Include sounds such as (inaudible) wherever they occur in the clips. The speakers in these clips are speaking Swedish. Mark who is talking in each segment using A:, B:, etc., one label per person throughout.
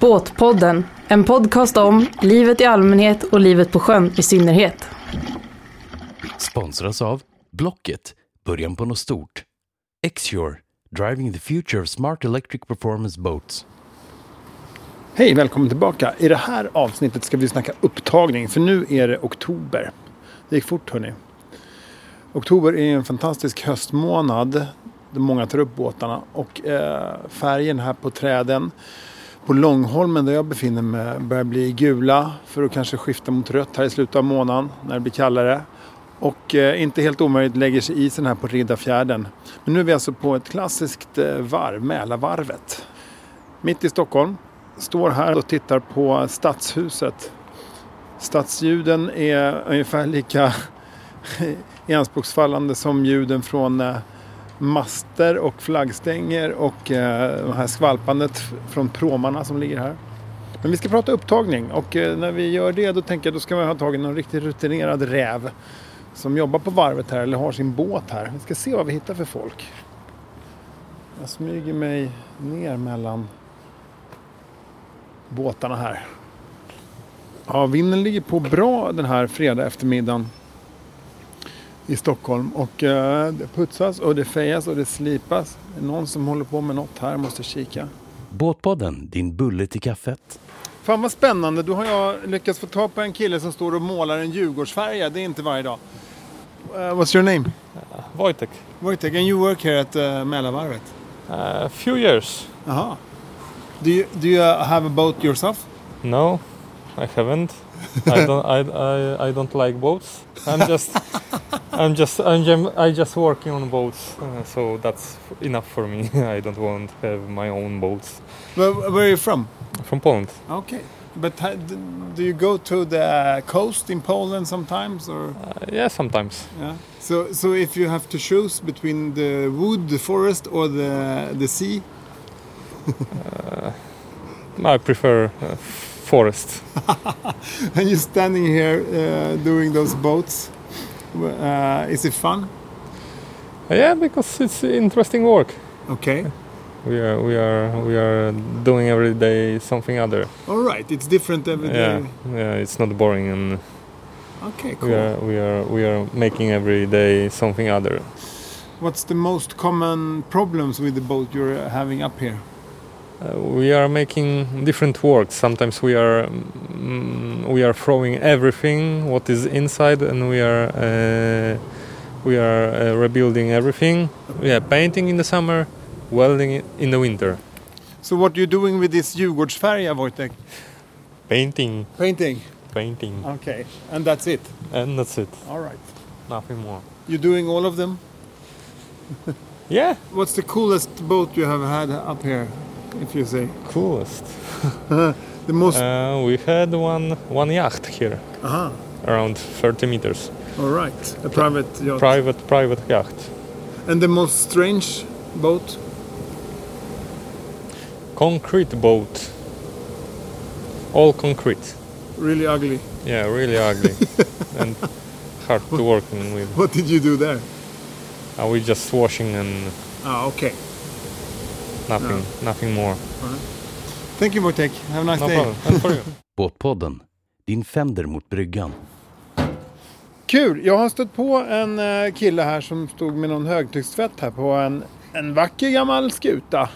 A: Båtpodden, en podcast om livet i allmänhet och livet på sjön i synnerhet.
B: Sponsras av Blocket, början på något stort. Xure, driving the future of smart electric performance boats.
C: Hej, välkommen tillbaka. I det här avsnittet ska vi snacka upptagning, för nu är det oktober. Det gick fort hörni. Oktober är en fantastisk höstmånad där många tar upp båtarna och eh, färgen här på träden på Långholmen där jag befinner mig börjar bli gula för att kanske skifta mot rött här i slutet av månaden när det blir kallare. Och eh, inte helt omöjligt lägger sig isen här på Riddarfjärden. Men nu är vi alltså på ett klassiskt eh, varv, Mälarvarvet. Mitt i Stockholm står här och tittar på stadshuset. Stadsljuden är ungefär lika (laughs) ianspråksfallande som ljuden från eh, master och flaggstänger och eh, det här skvalpandet f- från pråmarna som ligger här. Men vi ska prata upptagning och eh, när vi gör det då tänker jag då ska vi ha tagit någon riktigt rutinerad räv som jobbar på varvet här eller har sin båt här. Vi ska se vad vi hittar för folk. Jag smyger mig ner mellan båtarna här. Ja, vinden ligger på bra den här fredag eftermiddagen i Stockholm. Och eh, det putsas och det fejas och det slipas. Det är någon som håller på med något här, jag måste kika.
B: Båtpodden, din bulle till kaffet.
C: Fan vad spännande, då har jag lyckats få tag på en kille som står och målar en Djurgårdsfärja. Det är inte varje dag. Eh, what's your name?
D: Wojtek.
C: Wojtek, and you work here at uh, Mälarvarvet?
D: A few years.
C: Jaha. Do you, do you uh, have a boat yourself?
D: No, I haven't. I don't. I, I, I don't like boats. I'm
C: (laughs)
D: just. I'm just. I'm. jam- I just working on boats. Uh, so that's f- enough for me. (laughs) I don't want to have my own boats
C: Where, where are you from?
D: from Poland.
C: Okay. But ha- d- do you go to the coast in Poland sometimes? Or?
D: Uh, yeah, sometimes.
C: Yeah. So, so if you have to choose between the wood, the forest, or the the sea, (laughs)
D: I prefer uh, forest.
C: and you're standing here uh, doing those boats, uh, is it fun?
D: yeah, because it's interesting work.
C: Okay.
D: We are. We are. We are doing every day something other.
C: All right. It's different every day.
D: Yeah. Yeah. It's not boring and.
C: Okay. Cool.
D: We are, we are we are making every day something other.
C: What's the most common problems with the boat you're uh, having up here?
D: Uh, we are making different works. Sometimes we are mm, we are throwing everything what is inside, and we are uh, we are uh, rebuilding everything. Yeah, painting in the summer, welding i- in the winter.
C: So what you're doing with this Djurgårdsfärja, Wojtek?
D: Painting,
C: Painting.
D: painting,
C: Okay. And that's it.
D: and that's it.
C: All right.
D: Nothing more.
C: You're doing all of them.
D: Yeah,
C: What's the coolest boat you have had up here, if you say?
D: coolest.
C: The most.
D: Uh, we had one one yacht here,
C: Aha.
D: around 30 meters.
C: All right, a private yacht.
D: Private private yacht.
C: and the most strange boat?
D: concrete boat. All concrete.
C: Really ugly.
D: Yeah, really
E: (laughs)
D: ugly and hard to working with.
C: (laughs) What did you do there?
D: Are we just washing and
C: Ah, okay.
D: nothing, nothing more?
C: Thank you, Wojtek. Have a nice
D: No
C: day.
D: problem. And
E: (laughs)
D: for you.
B: Båtpodden, din fender mot bryggan.
C: Kul! Jag har stött på en eh, kille här som stod med någon högtryckstvätt här på en, en vacker gammal skuta.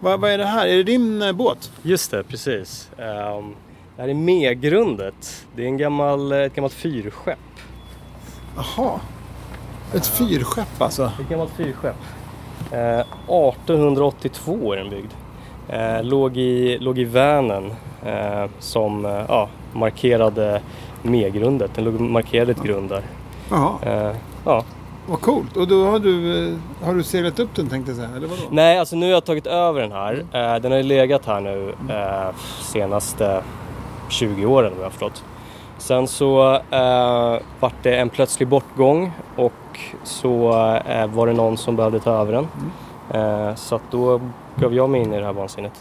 C: Vad, vad är det här? Är det din eh, båt?
F: Just det, precis. Ehm, det här är Megrundet. Det är en gammal, ett gammalt fyrskepp.
C: Aha. Ett fyrskepp alltså.
F: Ett gammalt fyrskepp. Eh, 1882 är den byggd. Eh, låg, i, låg i Vänern eh, som eh, ja, markerade Megrundet. Den låg markerade ett grund där.
C: Jaha,
F: Eh, ja.
C: vad coolt. Och då har du, eh, har du seglat upp den tänkte jag säga, eller vadå?
F: Nej, alltså nu har jag tagit över den här. Eh, den har ju legat här nu eh, senaste 20 åren om jag har förstått. Sen så eh, vart det en plötslig bortgång och så eh, var det någon som behövde ta över den. Eh, så att då gav jag mig in i det här vansinnet.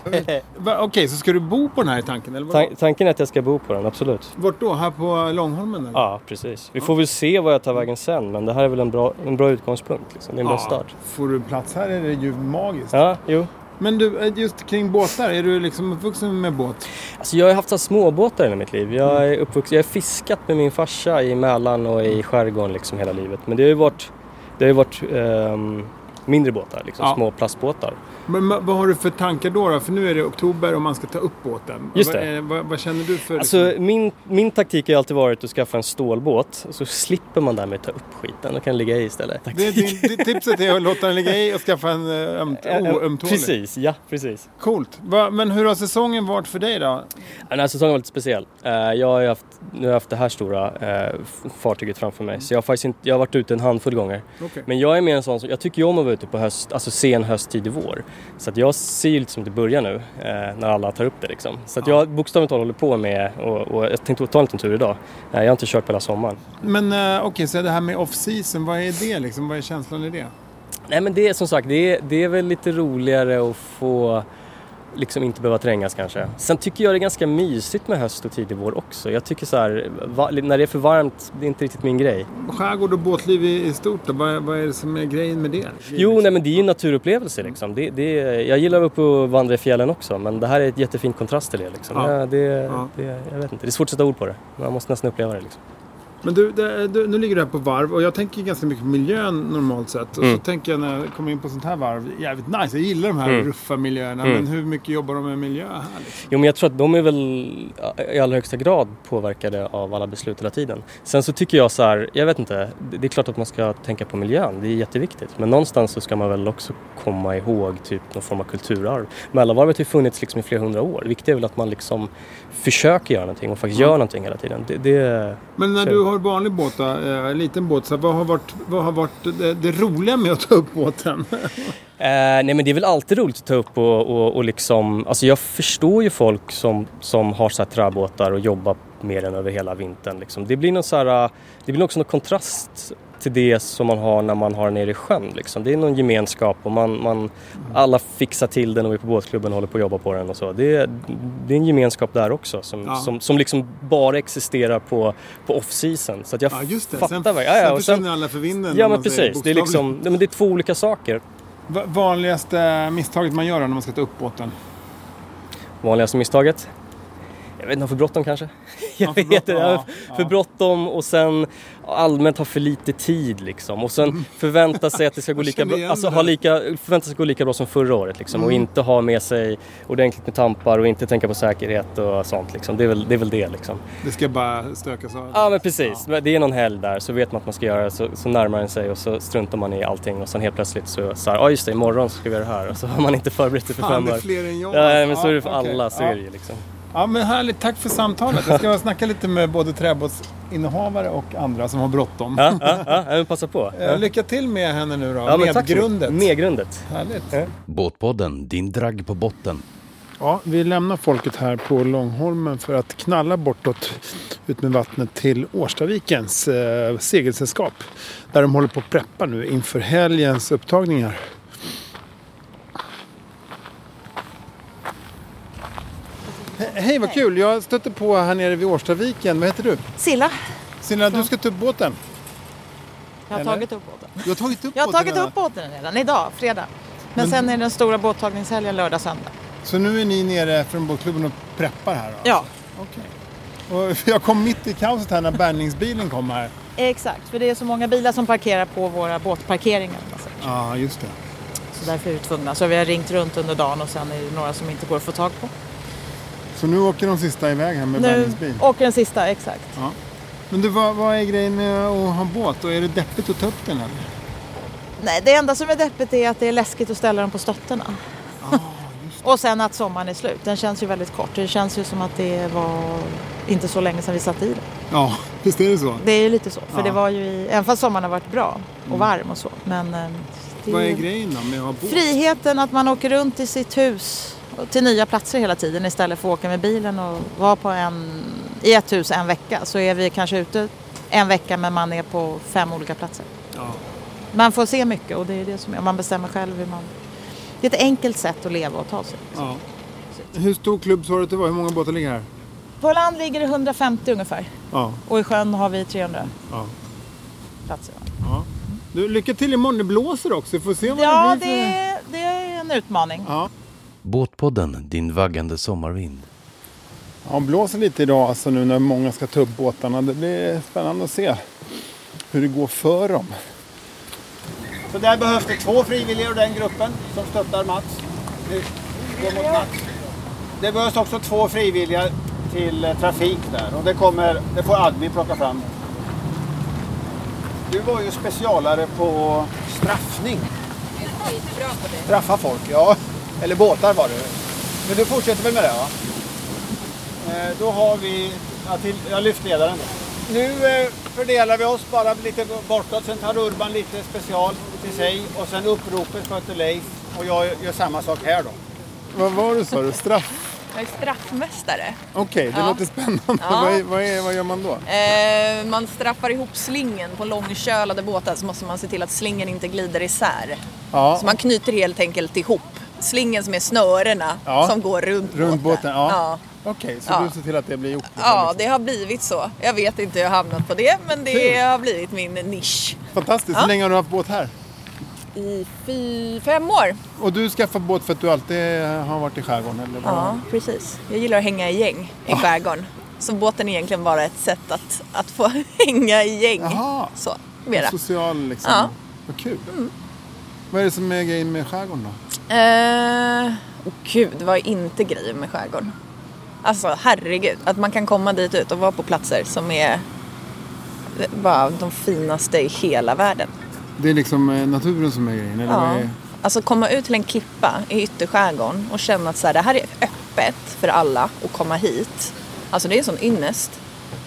C: Va, Okej, så ska du bo på den här i tanken, eller vadå?
F: Tan- tanken är att jag ska bo på den, absolut.
C: Vart då? Här på Långholmen? Eller?
F: Ja, precis. Vi får väl se vad jag tar vägen sen, men det här är väl en bra, en bra utgångspunkt. Liksom. Det är en bra start.
C: Får du plats här är det ju magiskt.
F: Ja, jo,
C: Men du, eh, just kring båtar, är du liksom uppvuxen med båt?
F: Alltså jag har haft så här småbåtar i hela mitt liv. Jag är uppvuxen, jag har fiskat med min farsa i Mälaren och i skärgården liksom hela livet. Men det har ju varit, det har ju varit ehm, mindre båtar, liksom,
C: Ja.
F: små plastbåtar.
C: Men ma- vad har du för tankar då, då? För nu är det oktober och man ska ta upp båten.
F: Just
C: Vad,
F: det.
C: är- vad, vad känner du för...
F: Alltså
C: liksom-
F: min, min taktik har ju alltid varit att skaffa en stålbåt så slipper man därmed ta upp skiten, då kan den ligga i istället.
C: det, det, det, tipset är att låta den ligga i och skaffa en eh, ömt,
F: (laughs) Ja, ja,
C: oömtålig.
F: Precis, ja precis.
C: Coolt. Va, men hur har säsongen varit för dig då?
F: Den här säsongen var lite speciell. Eh, Jag har ju haft, nu har jag haft det här stora eh, f- fartyget framför mig så jag har faktiskt inte, jag har varit ute en handfull gånger.
C: Okej.
F: Men jag är mer en sån som, jag tycker ju om att vara ute på höst, alltså sen höst, tidig vår. Så att jag ser ju lite som det börjar nu eh, när alla tar upp det liksom. Så att
C: Ja.
F: jag bokstavligt talat håller på med och, och jag tänkte ta en liten tur idag. Eh, jag har inte kört på hela sommaren.
C: Men eh, okej, så det här med off-season, vad är det liksom? Vad är känslan i det?
F: Nej men det är som sagt, det är, det är väl lite roligare att få liksom inte behöva trängas kanske. Sen tycker jag det är ganska mysigt med höst och tidig vår också. Jag tycker så här, va, när det är för varmt, det är inte riktigt min grej.
C: Skärgård och båtliv i, i stort då? Vad, vad är det som är liksom- Mm. grejen med det?
F: Jo, nej men det är ju en naturupplevelse liksom. Det, det, jag gillar att vara uppe och vandra i fjällen också men det här är ett jättefint kontrast till det liksom.
C: Ja.
F: Ja. Det,
C: Ja.
F: Det, jag vet inte, det är svårt att sätta ord på det. Man måste nästan uppleva det liksom.
C: Men du, det, du, nu ligger du här på varv och jag tänker ganska mycket på miljön normalt sett. Och
F: Mm.
C: så tänker jag när jag kommer in på sånt här varv, jävligt nice. Jag gillar de här
F: Mm.
C: ruffa miljöerna.
F: Mm.
C: Men hur mycket jobbar de med miljö här? Liksom?
F: Jo men jag tror att de är väl i allra högsta grad påverkade av alla beslut hela tiden. Sen så tycker jag så här, jag vet inte, det det är klart att man ska tänka på miljön, det är jätteviktigt. Men någonstans så ska man väl också komma ihåg typ någon form av kulturarv. Mälarvarvet har ju funnits liksom i flera hundra år. Det viktiga är väl att man liksom försöker göra någonting och faktiskt
C: Mm.
F: gör någonting hela tiden. Det, det,
C: Men när
F: Så.
C: du har vanlig båt, då, eh, liten båt, så här, vad har varit, vad har varit det, det roliga med att ta upp båten?
F: Eh, nej men det är väl alltid roligt att ta upp och, och, och liksom, alltså jag förstår ju folk som, som har så här träbåtar och jobbar med den över hela vintern liksom. Det blir någon så här, eh, det blir också någon kontrast till det som man har när man har den nere i sjön liksom. Det är någon gemenskap och man, man alla fixar till den och är på båtklubben och håller på att jobba på den och så. Det, är- det är en gemenskap där också som,
C: Ja.
F: som, som liksom bara existerar på, på off-season. Så att jag
C: Ja, just det.
F: fattar
C: Sen,
F: vad- ja, ja,
C: sen
F: och sen,
C: försvinner alla för vinden.
F: ja
C: om
F: men
C: man säger
F: precis, det är
C: bokstavligt.
F: liksom, nej, men det är två olika saker.
C: Va- Vanligaste misstaget man gör när man ska ta upp båten?
F: Vanligaste misstaget? Jag vet inte, ha för bråttom kanske? (laughs) Jag
C: Ja, för
F: vet inte,
C: bråttom,
F: ja,
C: ja,
F: för
C: ja.
F: bråttom och sen allmänt ha för lite tid liksom. Och
C: Mm.
F: sen förvänta sig att
C: (laughs)
F: det ska gå
C: Jag
F: lika
C: känner
F: bra,
C: igen
F: alltså
C: det
F: ha
C: där.
F: lika, förvänta sig att gå lika bra som förra året liksom. Och
C: Mm.
F: inte ha med sig ordentligt med tampar och inte tänka på säkerhet och sånt liksom. Det är väl det, är väl det liksom.
C: Det ska bara stökas av.
F: Ja men precis, Men det är någon helg där så vet man att man ska göra så, så närmar den sig och så struntar man i allting och sen helt plötsligt så, så här, ja just det, imorgon så ska vi göra det här och så har man inte förberett sig för
C: Fan,
F: fem
C: det är
F: år.
C: fler än jag.
F: Ja,
C: alltså.
F: men så är det för
C: okej.
F: alla, så
C: Ja.
F: är det ju liksom.
C: Ja, men härligt. Tack för samtalet. Jag ska snacka lite med både träbåtsinnehavare och andra som har bråttom.
F: ja, ja, ja, men passa på.
C: Eh, Lycka till med henne nu då.
F: Ja, men tack så
C: Medgrundet.
F: mycket. Eh, Medgrundet.
C: Härligt.
B: Båtpodden, din dragg på botten.
C: Ja, vi lämnar folket här på Långholmen för att knalla bortåt ut med vattnet till Årstavikens eh, segelsällskap. Där de håller på att preppa nu inför helgens upptagningar. He- Hej, vad kul! Jag stötte på här nere vid Årstaviken. Vad heter du?
G: Silla,
C: Silla, du ska ta upp båten.
G: jag har
C: Eller?
G: tagit upp båten.
C: Du har tagit upp
G: Jag har
C: båten
G: tagit
C: redan.
G: upp båten redan idag, fredag. Men,
C: Men-
G: sen är det den stora båttagningshelgen lördag, söndag.
C: Så nu är ni nere från båtklubben och preppar här då?
G: Ja,
C: Okej. Och jag kom mitt i kaoset här när bärgningsbilen kom här.
G: exakt. För det är så många bilar som parkerar på våra båtparkeringar. alltså.
C: Ja, just det.
G: Så därför är vi tvungna. Så vi har ringt runt under dagen och sen är det några som inte går att få tag på.
C: Så nu åker de sista iväg här med
G: Nu
C: bärgningsbil.
G: åker den sista, exakt.
C: Men du, vad, vad är grejen med att ha båt? Och är det deppigt att ta upp den eller?
G: Nej, det enda som är deppigt är att det är läskigt att ställa dem på stötterna. Och sen att sommaren är slut. Den känns ju väldigt kort. Det känns ju som att det var inte så länge sedan vi satt i den.
C: Ja, (laughs) visst är det så.
G: Det är ju lite så. För
C: Ja. Mm.
G: det var ju i, även fast sommaren har varit bra och varm och så. Men eh, det
C: Vad
G: är
C: är
G: ju
C: grejen då med att ha båt?
G: friheten att man åker runt i sitt hus och till nya platser hela tiden istället för att åka med bilen och vara på en, i ett hus en vecka. Så är vi kanske ute en vecka men man är på fem olika platser.
C: Ja.
G: Man får se mycket och det är det som är. Man bestämmer själv hur man... Det är ett enkelt sätt att leva och ta sig.
C: ja. Hur stor klubb sa du att det var? Hur många båtar ligger här?
G: På land ligger det 150 ungefär
C: Ja.
G: och i sjön har vi 300
C: ja.
G: platser.
C: ja. Du, lycka till imorgon. Det blåser också. Vi får se vad
G: Ja,
C: det blir för...
G: det, det är en utmaning.
C: Ja.
B: Båtpodden, din vaggande sommarvind.
C: Ja, blåser lite idag alltså nu när många ska ta upp båtarna. Det blir spännande att se hur det går för dem.
H: Så där behövs det två frivilliga ur den gruppen som stöttar Mats. Nu går mot Mats. Det behövs också två frivilliga till eh, trafik där och det, kommer, det får Admi plocka fram. Du var ju specialare på straffning. Straffa folk, ja. Eller båtar var det. Men du fortsätter väl med det? Va? Eh, Då har vi... Ja, till, jag lyfter ledaren. Nu eh, fördelar vi oss bara lite bortåt. Sen tar Urban lite special till sig. Och sen uppropet sköter Leif. Och jag gör samma sak här då.
C: Vad var det sa du? Straff?
I: Jag är straffmästare.
C: Okej, det
I: Ja.
C: låter spännande.
I: Ja.
C: Vad, är, vad, är, vad gör man då?
I: Eh, man straffar ihop slingen på långkölade båtar så måste man se till att slingen inte glider isär.
C: Ja,
I: Så man knyter helt enkelt ihop slingen som är snörena
C: Ja.
I: som går runt,
C: runt båten? Ja.
I: Ja.
C: Okej, så
I: Ja.
C: du ser till att det blir gjort? Liksom.
I: Ja, det har blivit så. Jag vet inte hur jag har hamnat på det, men det har blivit min nisch.
C: Fantastiskt. Hur länge har du haft båt här?
I: I fy, fem år.
C: Och du skaffade båt för att du alltid har varit i skärgården? Eller vad?
I: Ja, precis. Jag gillar att hänga i gäng i skärgården. Så båten är egentligen bara ett sätt att, att få (laughs) hänga i gäng.
C: Jaha.
I: Så, mera.
C: Social liksom.
I: Ja. Mm.
C: Vad kul. Vad är det som är grejen med skärgården då?
I: Eh, åh gud, vad är inte grejen med skärgården? Alltså herregud, att man kan komma dit ut och vara på platser som är bara de finaste i hela världen.
C: Det är liksom eh, naturen som är grejen? Eller vad
I: Ja.
C: är...
I: Alltså komma ut till en klippa i ytterskärgården och känna att så här, det här är öppet för alla att komma hit. Alltså det är en sån ynnest.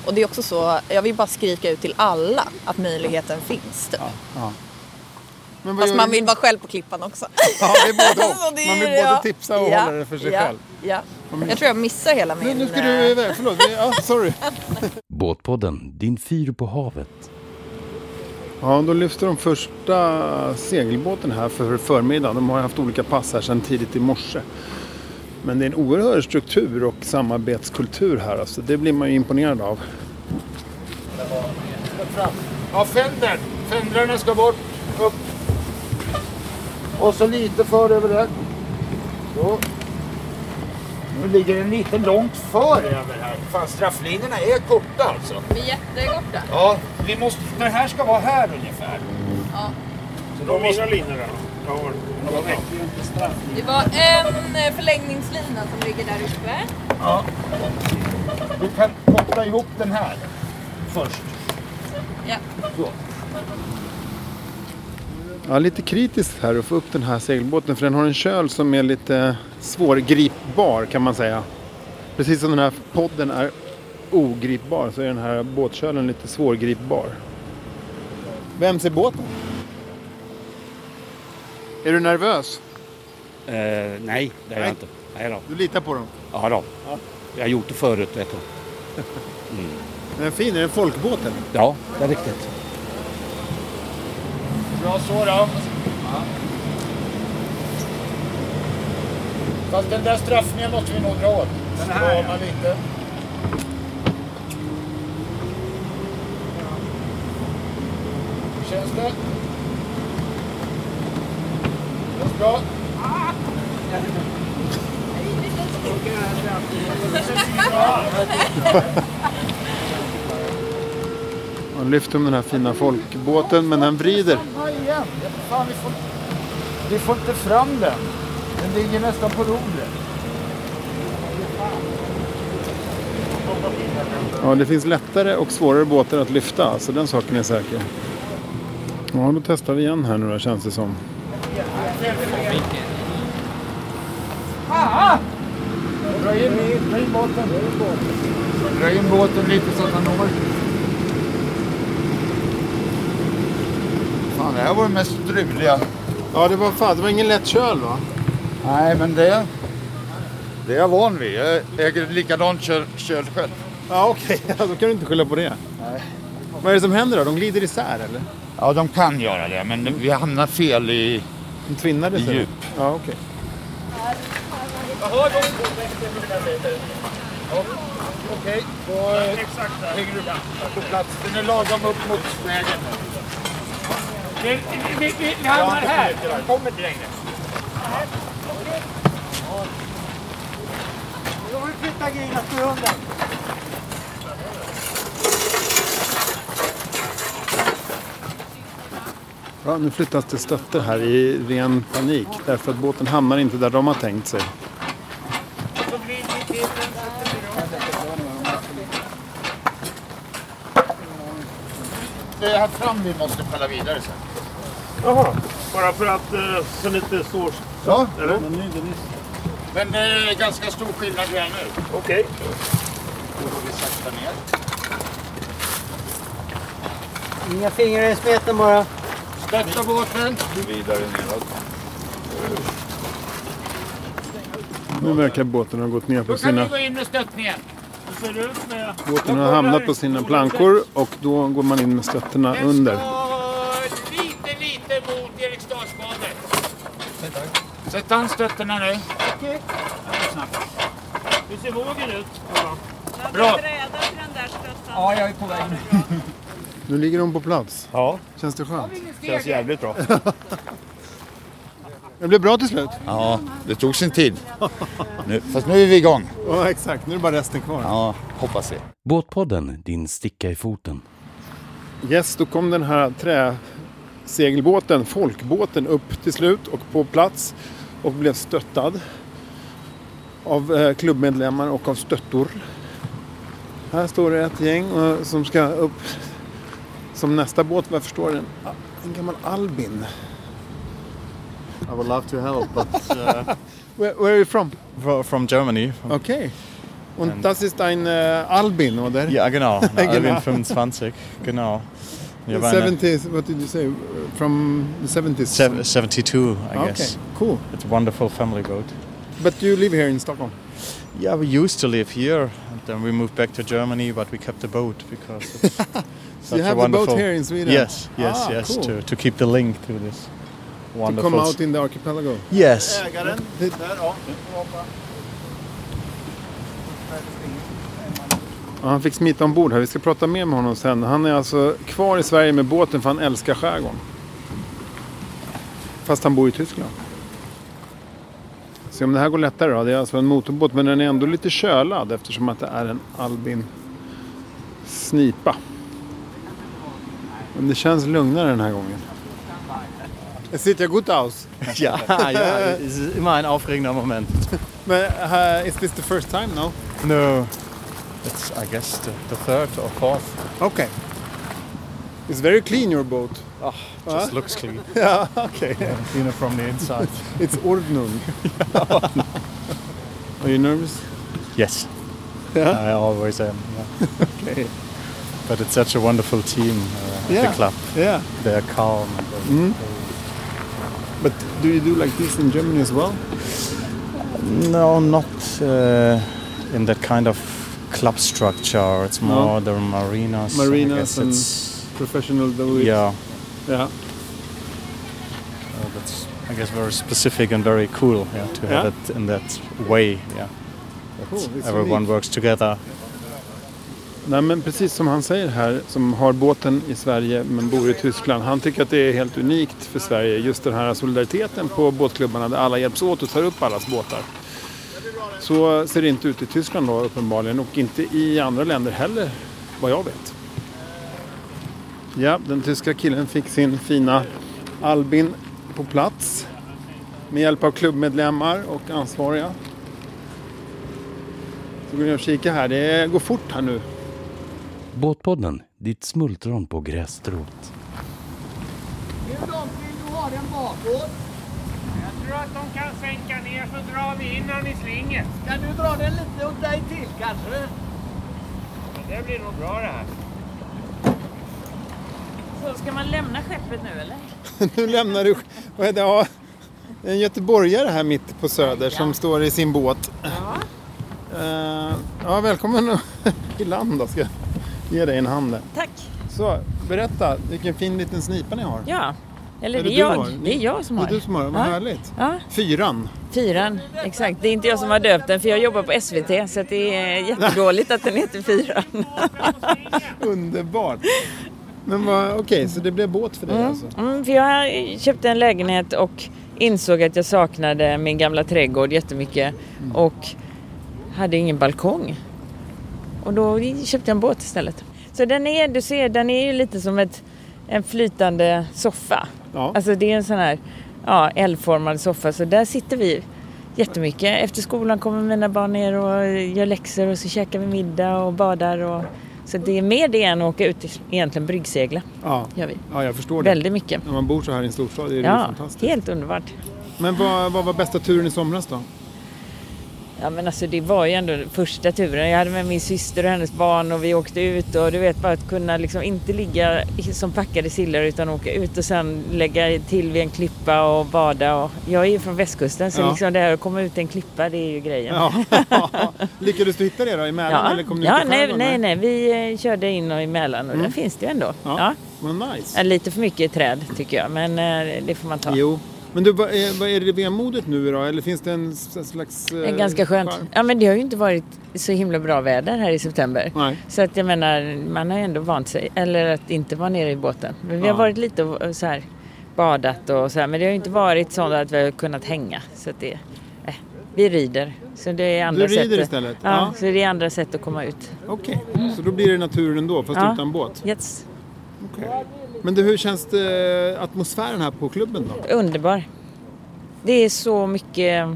I: Och det är också så, jag vill bara skrika ut till alla att möjligheten finns. Typ.
C: Men vad
I: Fast
C: gör
I: man
C: du-
I: vill vara själv på klippan också. (laughs)
C: Ja, det är både
I: Så
C: och.
I: det är
C: Man vill
I: ju-
C: både
I: ja.
C: tipsa och
I: Ja,
C: hålla det för sig
I: ja,
C: själv.
I: Ja. Jag tror jag missar hela min...
C: Nu, nu ska
I: eh,
C: du iväg. Förlåt. Vi- Ja, sorry.
B: Båtpodden, din fyr på havet.
C: Ja, då lyfter de första segelbåten här för förmiddagen. De har ju haft olika pass här sedan tidigt i morse. Men det är en oerhörd struktur och samarbetskultur här. Alltså. Det blir man ju imponerad av.
H: Ja, fänder. Fändrarna ska bort. Upp. Och så lite för över där. Så. Nu ligger den lite långt för över här. Fan, strafflinjerna är korta alltså.
I: Vi är jättekorta.
H: Ja, vi måste, den här ska vara här ungefär.
I: Ja.
H: Så då måste... linjer där då?
I: Det var en eh, förlängningslina som ligger där uppe.
H: Du kan koppla ihop den här först.
I: Ja.
C: Ja, lite kritiskt här att få upp den här segelbåten för den har en köl som är lite svårgripbar kan man säga. Precis som den här podden är ogripbar så är den här båtkölen lite svårgripbar. Vems är båten? Är du nervös?
J: Eh, nej, det är
C: Nej.
J: jag inte. Nej då.
C: Du litar på dem?
J: Ja, då. Jag har gjort det förut, vet du.
C: Den är fin, är det en folkbåt eller?
J: Ja, det är riktigt.
H: Bra så då. Fast den där straffningen måste vi nog dra åt. Den här ja. Lite. Känns det? Känns bra.
C: Man lyfter om den här fina folkbåten men den vrider.
H: Samma igen. Fan, vi, får... vi får inte fram den. Den ligger nästan på rodret.
C: Ja, det finns lättare och svårare båtar att lyfta, så den saken är säker. Ja, då testar vi igen här nu då, känns det som.
H: Dra in, dra in båten. Dra in båten lite så att han når. Fan, det här var det mest struliga.
C: Ja, det var fan, det var ingen lätt köl va?
H: Nej, men det... Det är jag van vid. Jag äger likadant köl, köl själv.
C: Ja, okej. (laughs) Ja, Då kan du inte skylla på det. Vad är det som händer då? De glider isär eller?
J: Ja, de kan göra det, men vi hamnar fel i...
C: De tvinnar sig?
J: I djup.
C: Ja, okej.
H: Okej, då lägger du på plats. Den är lagom upp mot vägen. Vi, vi, vi, vi hamnar här. Jag kommer inte längre. Nu har vi flyttat grinet till hunden.
C: Ja, nu flyttas det stötter här i ren panik därför att båten hamnar inte där de har tänkt sig.
J: Det är här fram vi måste falla vidare sen.
K: Jaha, bara för att eh, så lite står...
J: Ja.
K: Eller?
J: Men det är ganska stor skillnad vi är nu.
K: Okej.
J: Då går vi sakta ner.
H: Inga fingrar i smeten bara.
J: Stötta båten. Vidare neråt.
C: Nu verkar båten ha gått ner på
J: Då kan vi
C: sina...
J: gå in med stöttningen.
K: Hur ser det ut med...
C: Båten har hamnat på sina plankor och då går man in med stötterna under.
J: ska lite, lite mot Eriksdalsbadet. Sätt an stötterna nu.
K: Hur ser vågen ut?
J: Bra.
H: Ja, jag är på väg nu.
C: Nu ligger de på plats.
K: Ja,
C: Känns det skönt?
K: känns jävligt bra.
C: Det blev bra till slut.
J: Ja, det tog sin tid. Nu, fast nu är vi igång.
C: Ja, exakt. Nu är det bara resten kvar.
J: Ja, hoppas vi.
B: Båtpodden, din sticka i foten.
C: Yes, då kom den här träsegelbåten, folkbåten, upp till slut och på plats och blev stöttad av eh, klubbmedlemmar och av stöttor. Här står det ett gäng eh, som ska upp som nästa båt, vad jag förstår den, Ah, en gammal Albin.
E: I would love to help,
C: (laughs)
E: but uh,
C: Where, where are you from?
E: fro- from Germany. From-
C: Okay. Und das ist ein äh, Albin, oder?
D: (laughs)
E: Ja, genau.
C: Genau.
E: Alvin 25, genau. Wir waren
C: 70s, what did you say? From the 70s?
E: sev- 72, I
C: Ah, Okay,
E: guess.
C: cool.
E: It's a wonderful family boat.
C: But you live here in Stockholm?
E: Yeah, we used to live here, and then we moved back to Germany, but we kept the boat because (laughs) it's
C: So
E: such
C: you
E: a
C: have the
E: wonderful.
C: boat here in Sweden?
E: Yes, yes,
C: Ah,
E: yes.
C: cool.
E: To, to keep the link to this
C: To
E: wonderful.
C: come
E: s-
C: out in the archipelago.
E: yes.
H: Ägaren, där ja.
C: Ja, han fick smita ombord här. Vi ska prata mer med honom sen. Han är alltså kvar i Sverige med båten för han älskar skärgården. Fast han bor i Tyskland. Se om det här går lättare då. Det är alltså en motorbåt men den är ändå lite kölad eftersom att det är en Albin Snipa. Men det känns lugnare den här gången. Det ser gut aus.
E: (laughs) ja, ja, es ist immer ein aufregender Moment.
C: Men uh, is this the first time now?
E: No, it's I guess the, the third or fourth.
C: Okay. It's very clean your boat.
E: Just looks clean.
C: Yeah, okay.
E: Cleaner from the inside. (laughs)
C: It's Ordnung. (laughs) Are you nervous?
E: Yes.
C: Yeah?
E: I always am. Yeah.
C: Okay.
E: But it's such a wonderful team uh, at
C: Yeah.
E: the club.
C: Yeah.
E: They're calm. and they-
C: But do you do like this in Germany as well?
E: No, not uh, in that kind of club structure. It's
C: No?
E: more the marinas. I
C: Marinas
E: guess
C: and-
E: it's,
C: Professional do it?
E: yeah,
C: Yeah.
E: uh, that's I guess very specific and very cool yeah, to have
C: Yeah?
E: it in that way. Yeah. That
C: Cool, it's
E: everyone
C: unique.
E: works together.
C: Nej men precis som han säger här, som har båten i Sverige men bor i Tyskland. Han tycker att det är helt unikt för Sverige. Just den här solidariteten på båtklubbarna där alla hjälps åt och tar upp allas båtar. Så ser det inte ut i Tyskland då uppenbarligen och inte i andra länder heller vad jag vet. Ja, den tyska killen fick sin fina Albin på plats med hjälp av klubbmedlemmar och ansvariga. Så går vi och kika här. Det går fort här nu.
B: Båtpodden, ditt smultron på grässtrået.
H: Hur långt vill du ha den bakåt?
K: Jag tror att de kan sänka ner så drar vi in han i slinget.
H: Kan du dra den lite åt dig till kanske?
K: Det blir nog bra det här.
L: Ska man lämna skeppet nu eller?
C: Nu lämnar du... Vad är det? Ja, en göteborgare här mitt på Söder som står i sin båt. Ja, ja välkommen i land då. Ska jag ge dig en hand där.
L: Tack.
C: Så, berätta. Vilken fin liten snipa ni har.
L: Ja, eller
C: Är
L: det
C: det
L: är
C: du har?
L: jag.
C: Ni-
L: Det är jag som
C: Det är du
L: har.
C: som har den. Vad härligt.
L: Ja.
C: Fyran.
L: Fyran, exakt. Det är inte jag som har döpt den för jag jobbar på SVT så att det är jättedåligt att den heter Fyran. (laughs)
C: Underbart. Men vad... Okej, så det blev båt för dig alltså?
L: Mm, för jag köpte en lägenhet och insåg att jag saknade min gamla trädgård jättemycket och hade ingen balkong. Och då köpte jag en båt istället. Så den är, du ser, den är ju lite som ett, en flytande soffa. Alltså det är en sån här ja, L-formad soffa, så där sitter vi jättemycket. Efter skolan kommer mina barn ner och gör läxor och så käkar vi middag och badar. Och, så det är mer det än att åka ut egentligen bryggsegla.
C: Ja.
L: Gör vi.
C: ja, jag förstår det.
L: Väldigt mycket.
C: När man bor så här i en storstad är det ju
L: Ja,
C: fantastiskt.
L: helt underbart.
C: Men vad, vad var bästa turen i somras då?
L: Ja men alltså det var ju ändå första turen. Jag hade med min syster och hennes barn och vi åkte ut och du vet bara att kunna liksom inte ligga som packade sillar utan åka ut och sen lägga till vid en klippa och bada. Och jag är ju från västkusten så
C: Ja.
L: liksom det här att komma ut till en klippa det är ju grejen.
C: Ja. (laughs) Lyckades du hitta det då i Mälaren eller kom ni ut
L: ja
C: i
L: nej,
C: skärgården? Mm.
L: nej, nej, vi eh, körde in och i Mälaren och där finns det ju ändå. Ja.
C: Men nice.
L: Ja, Lite för mycket träd tycker jag men eh, det får man ta.
C: Jo. Men du, vad är, vad är det vemodigt nu då? Eller finns det en s- en slags...
L: Det är
C: eh,
L: ganska skönt.
C: charm?
L: Ja, men det har ju inte varit så himla bra väder här i september.
C: Nej.
L: Så att jag menar, man har ju ändå vant sig. Eller att inte vara nere i båten. Men vi
M: Ja.
L: har varit lite och så här badat och så här. Men det har ju inte varit så att vi har kunnat hänga. Så att det, eh, vi rider. Så det är andra
C: rider
L: sätt. att-
C: istället?
L: Ja,
C: Ja.
L: så det är andra sätt att komma ut.
C: Okej, så då blir det naturen ändå fast
L: Ja.
C: utan båt?
L: Yes.
C: Okej. Men du, hur känns det, eh, atmosfären här på klubben då?
L: Underbar. Det är så mycket,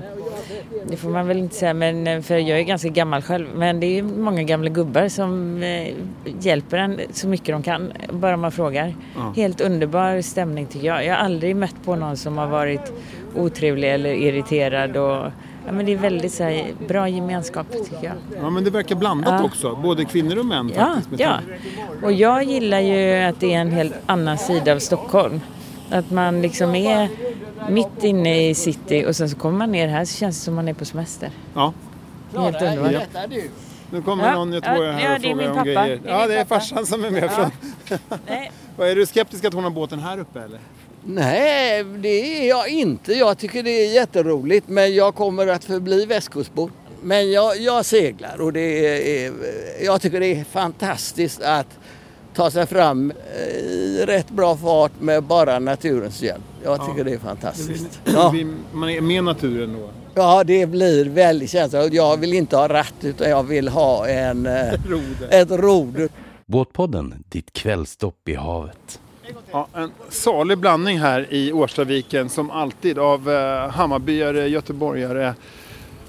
L: det får man väl inte säga, men eh, för jag är ganska gammal själv, men det är många gamla gubbar som eh, hjälper en så mycket de kan, bara man frågar.
M: Ja.
L: Helt underbar stämning tycker jag. Jag har aldrig mött på någon som har varit otrevlig eller irriterad. Och, ja, men det är väldigt så här, bra gemenskap tycker jag.
C: Ja, men det verkar blandat
L: Ja.
C: också. Både kvinnor och män
L: Ja,
C: faktiskt. med
L: ja.
C: tanke-
L: Och jag gillar ju att det är en helt annan sida av Stockholm. Att man liksom är mitt inne i city och sen så kommer man ner här så känns det som man är på semester.
C: Ja.
L: Det är Helt underbart.
C: Nu kommer
L: Ja,
C: någon göteborgare
L: ja,
C: här
L: ja,
C: och
L: det är
C: frågar
L: min
C: om
L: pappa.
C: grejer.
L: Det är
C: Ja,
L: min
C: det är
L: pappa.
C: farsan som är med
L: Ja.
C: från... (laughs) Vad Är du skeptisk att hon har båten här uppe eller?
N: Nej, det är jag inte. Jag tycker det är jätteroligt men jag kommer att förbli västkustbo. Men jag, jag seglar och det är, jag tycker det är fantastiskt att ta sig fram eh, i rätt bra fart med bara naturens hjälp. Jag tycker det är fantastiskt.
C: Det blir-
N: Ja.
C: blir- Man är med naturen då.
N: Ja, det blir väldigt känsligt. Och Jag vill inte ha ratt utan jag vill ha en, eh,
C: roder.
N: ett roder.
B: Båtpodden, ditt kvällstopp i havet.
C: Ja, en salig blandning här i Årstaviken som alltid av eh, Hammarbyare, göteborgare,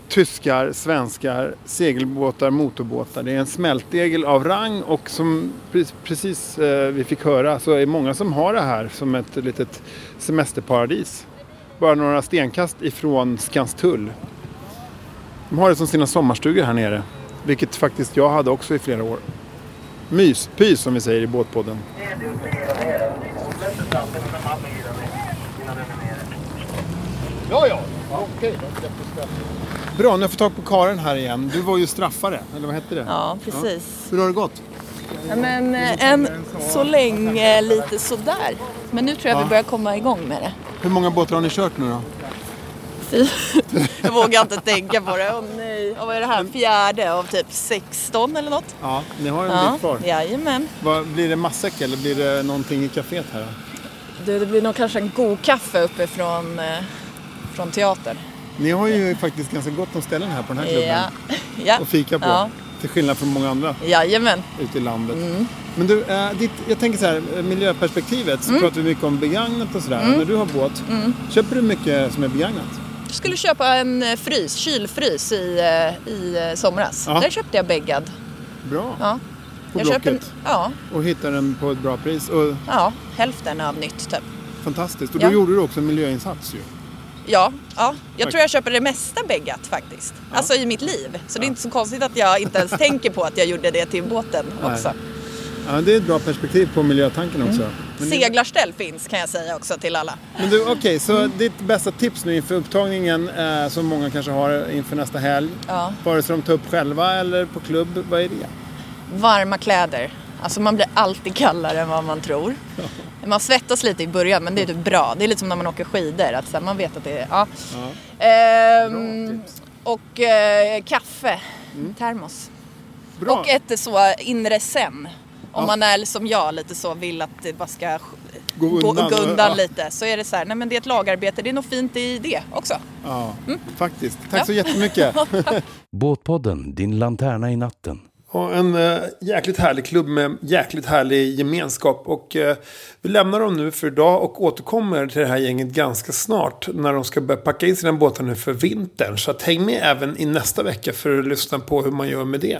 C: tyskar, svenskar, segelbåtar, motorbåtar. Det är en smältdegel av rang och som pre- precis eh, vi fick höra så är många som har det här som ett litet semesterparadis. Bara några stenkast ifrån Skanstull. De har det som sina sommarstugor här nere, vilket faktiskt jag hade också i flera år. Myspys som vi säger i Båtpodden.
H: Ja, ja. Okej, då släpper vi straffen.
C: Bra, nu har jag fått tag på Karin här igen. Du var ju straffare, eller vad hette det?
I: Ja, precis.
C: Hur har det gått?
I: Ja, Men eh, än så länge eh, lite sådär. Men nu tror jag
C: Ja.
I: vi börjar komma igång
C: (laughs)
I: med det.
C: Hur många båtar har ni kört nu då?
I: Jag vågar inte tänka på det. Åh nej. Och vad är det här? Fjärde av typ 16 eller något?
C: Ja, ni har en bit kvar.
I: jajamän.
C: Vad, blir det matsäck eller blir det någonting i kaféet här? Då?
I: Du, det blir nog kanske en god kaffe uppe från, eh, från teatern.
C: Ni har ju faktiskt ganska gott om ställen här på den här klubben.
I: Ja. Ja.
C: Och fika på.
I: Ja. Mm.
C: Till skillnad från många andra
I: Jajamän.
C: ute i landet. Men du, eh, ditt, jag tänker så här, eh, miljöperspektivet så pratar vi mycket om begagnat och sådär.
I: Mm.
C: När du har båt,
I: Mm.
C: köper du mycket som är begagnat?
I: Jag skulle köpa en eh, frys, kylfrys i, eh, i eh, somras.
C: Ja.
I: Där köpte jag bäggad.
C: Bra,
I: Ja.
C: på
I: jag köpte en,
C: Blocket.
I: ja,
C: Och hittar den på ett bra pris. Och,
I: ja, hälften av nytt typ.
C: fantastiskt. Och
I: Ja.
C: då gjorde du också en miljöinsats ju.
I: Ja, ja. jag
C: Tack.
I: tror jag köper det mesta bäggat faktiskt. Alltså i mitt liv. Så det är inte så konstigt att jag inte ens tänker på att jag gjorde det till båten också.
C: Nej. Ja, det är ett bra perspektiv på miljötanken också.
I: Mm.
C: Men, det-
I: Seglarställ finns kan jag säga också till alla.
C: men du, okej, så ditt bästa tips nu inför upptagningen eh, som många kanske har inför nästa helg.
I: Ja.
C: Vare sig de tar upp själva eller på klubb, vad är det?
I: Varma kläder. Alltså man blir alltid kallare än vad man tror. Man svettas lite i början men det är typ bra. Det är lite som när man åker skidor. Att så här, man vet att det är... Ja. Ehm, och
C: Mm.
I: eh, kaffe. Termos. Och ett så inre sen. Om man är som jag lite så vill att det bara ska sk-
C: Gå
I: gå-
C: undan.
I: gå
C: Ja.
I: undan lite så är det så här, nej men det är ett lagarbete, det är nog fint i det också.
C: Ja, faktiskt. Tack
I: Mm. Ja. (laughs)
C: så jättemycket.
B: Båtpodden, din lanterna i natten.
C: Och en eh, jäkligt härlig klubb med jäkligt härlig gemenskap. Och eh, vi lämnar dem nu för idag och återkommer till det här gänget ganska snart. När de ska börja packa in sina båtar nu för vintern. Så att häng med även i nästa vecka för att lyssna på hur man gör med det.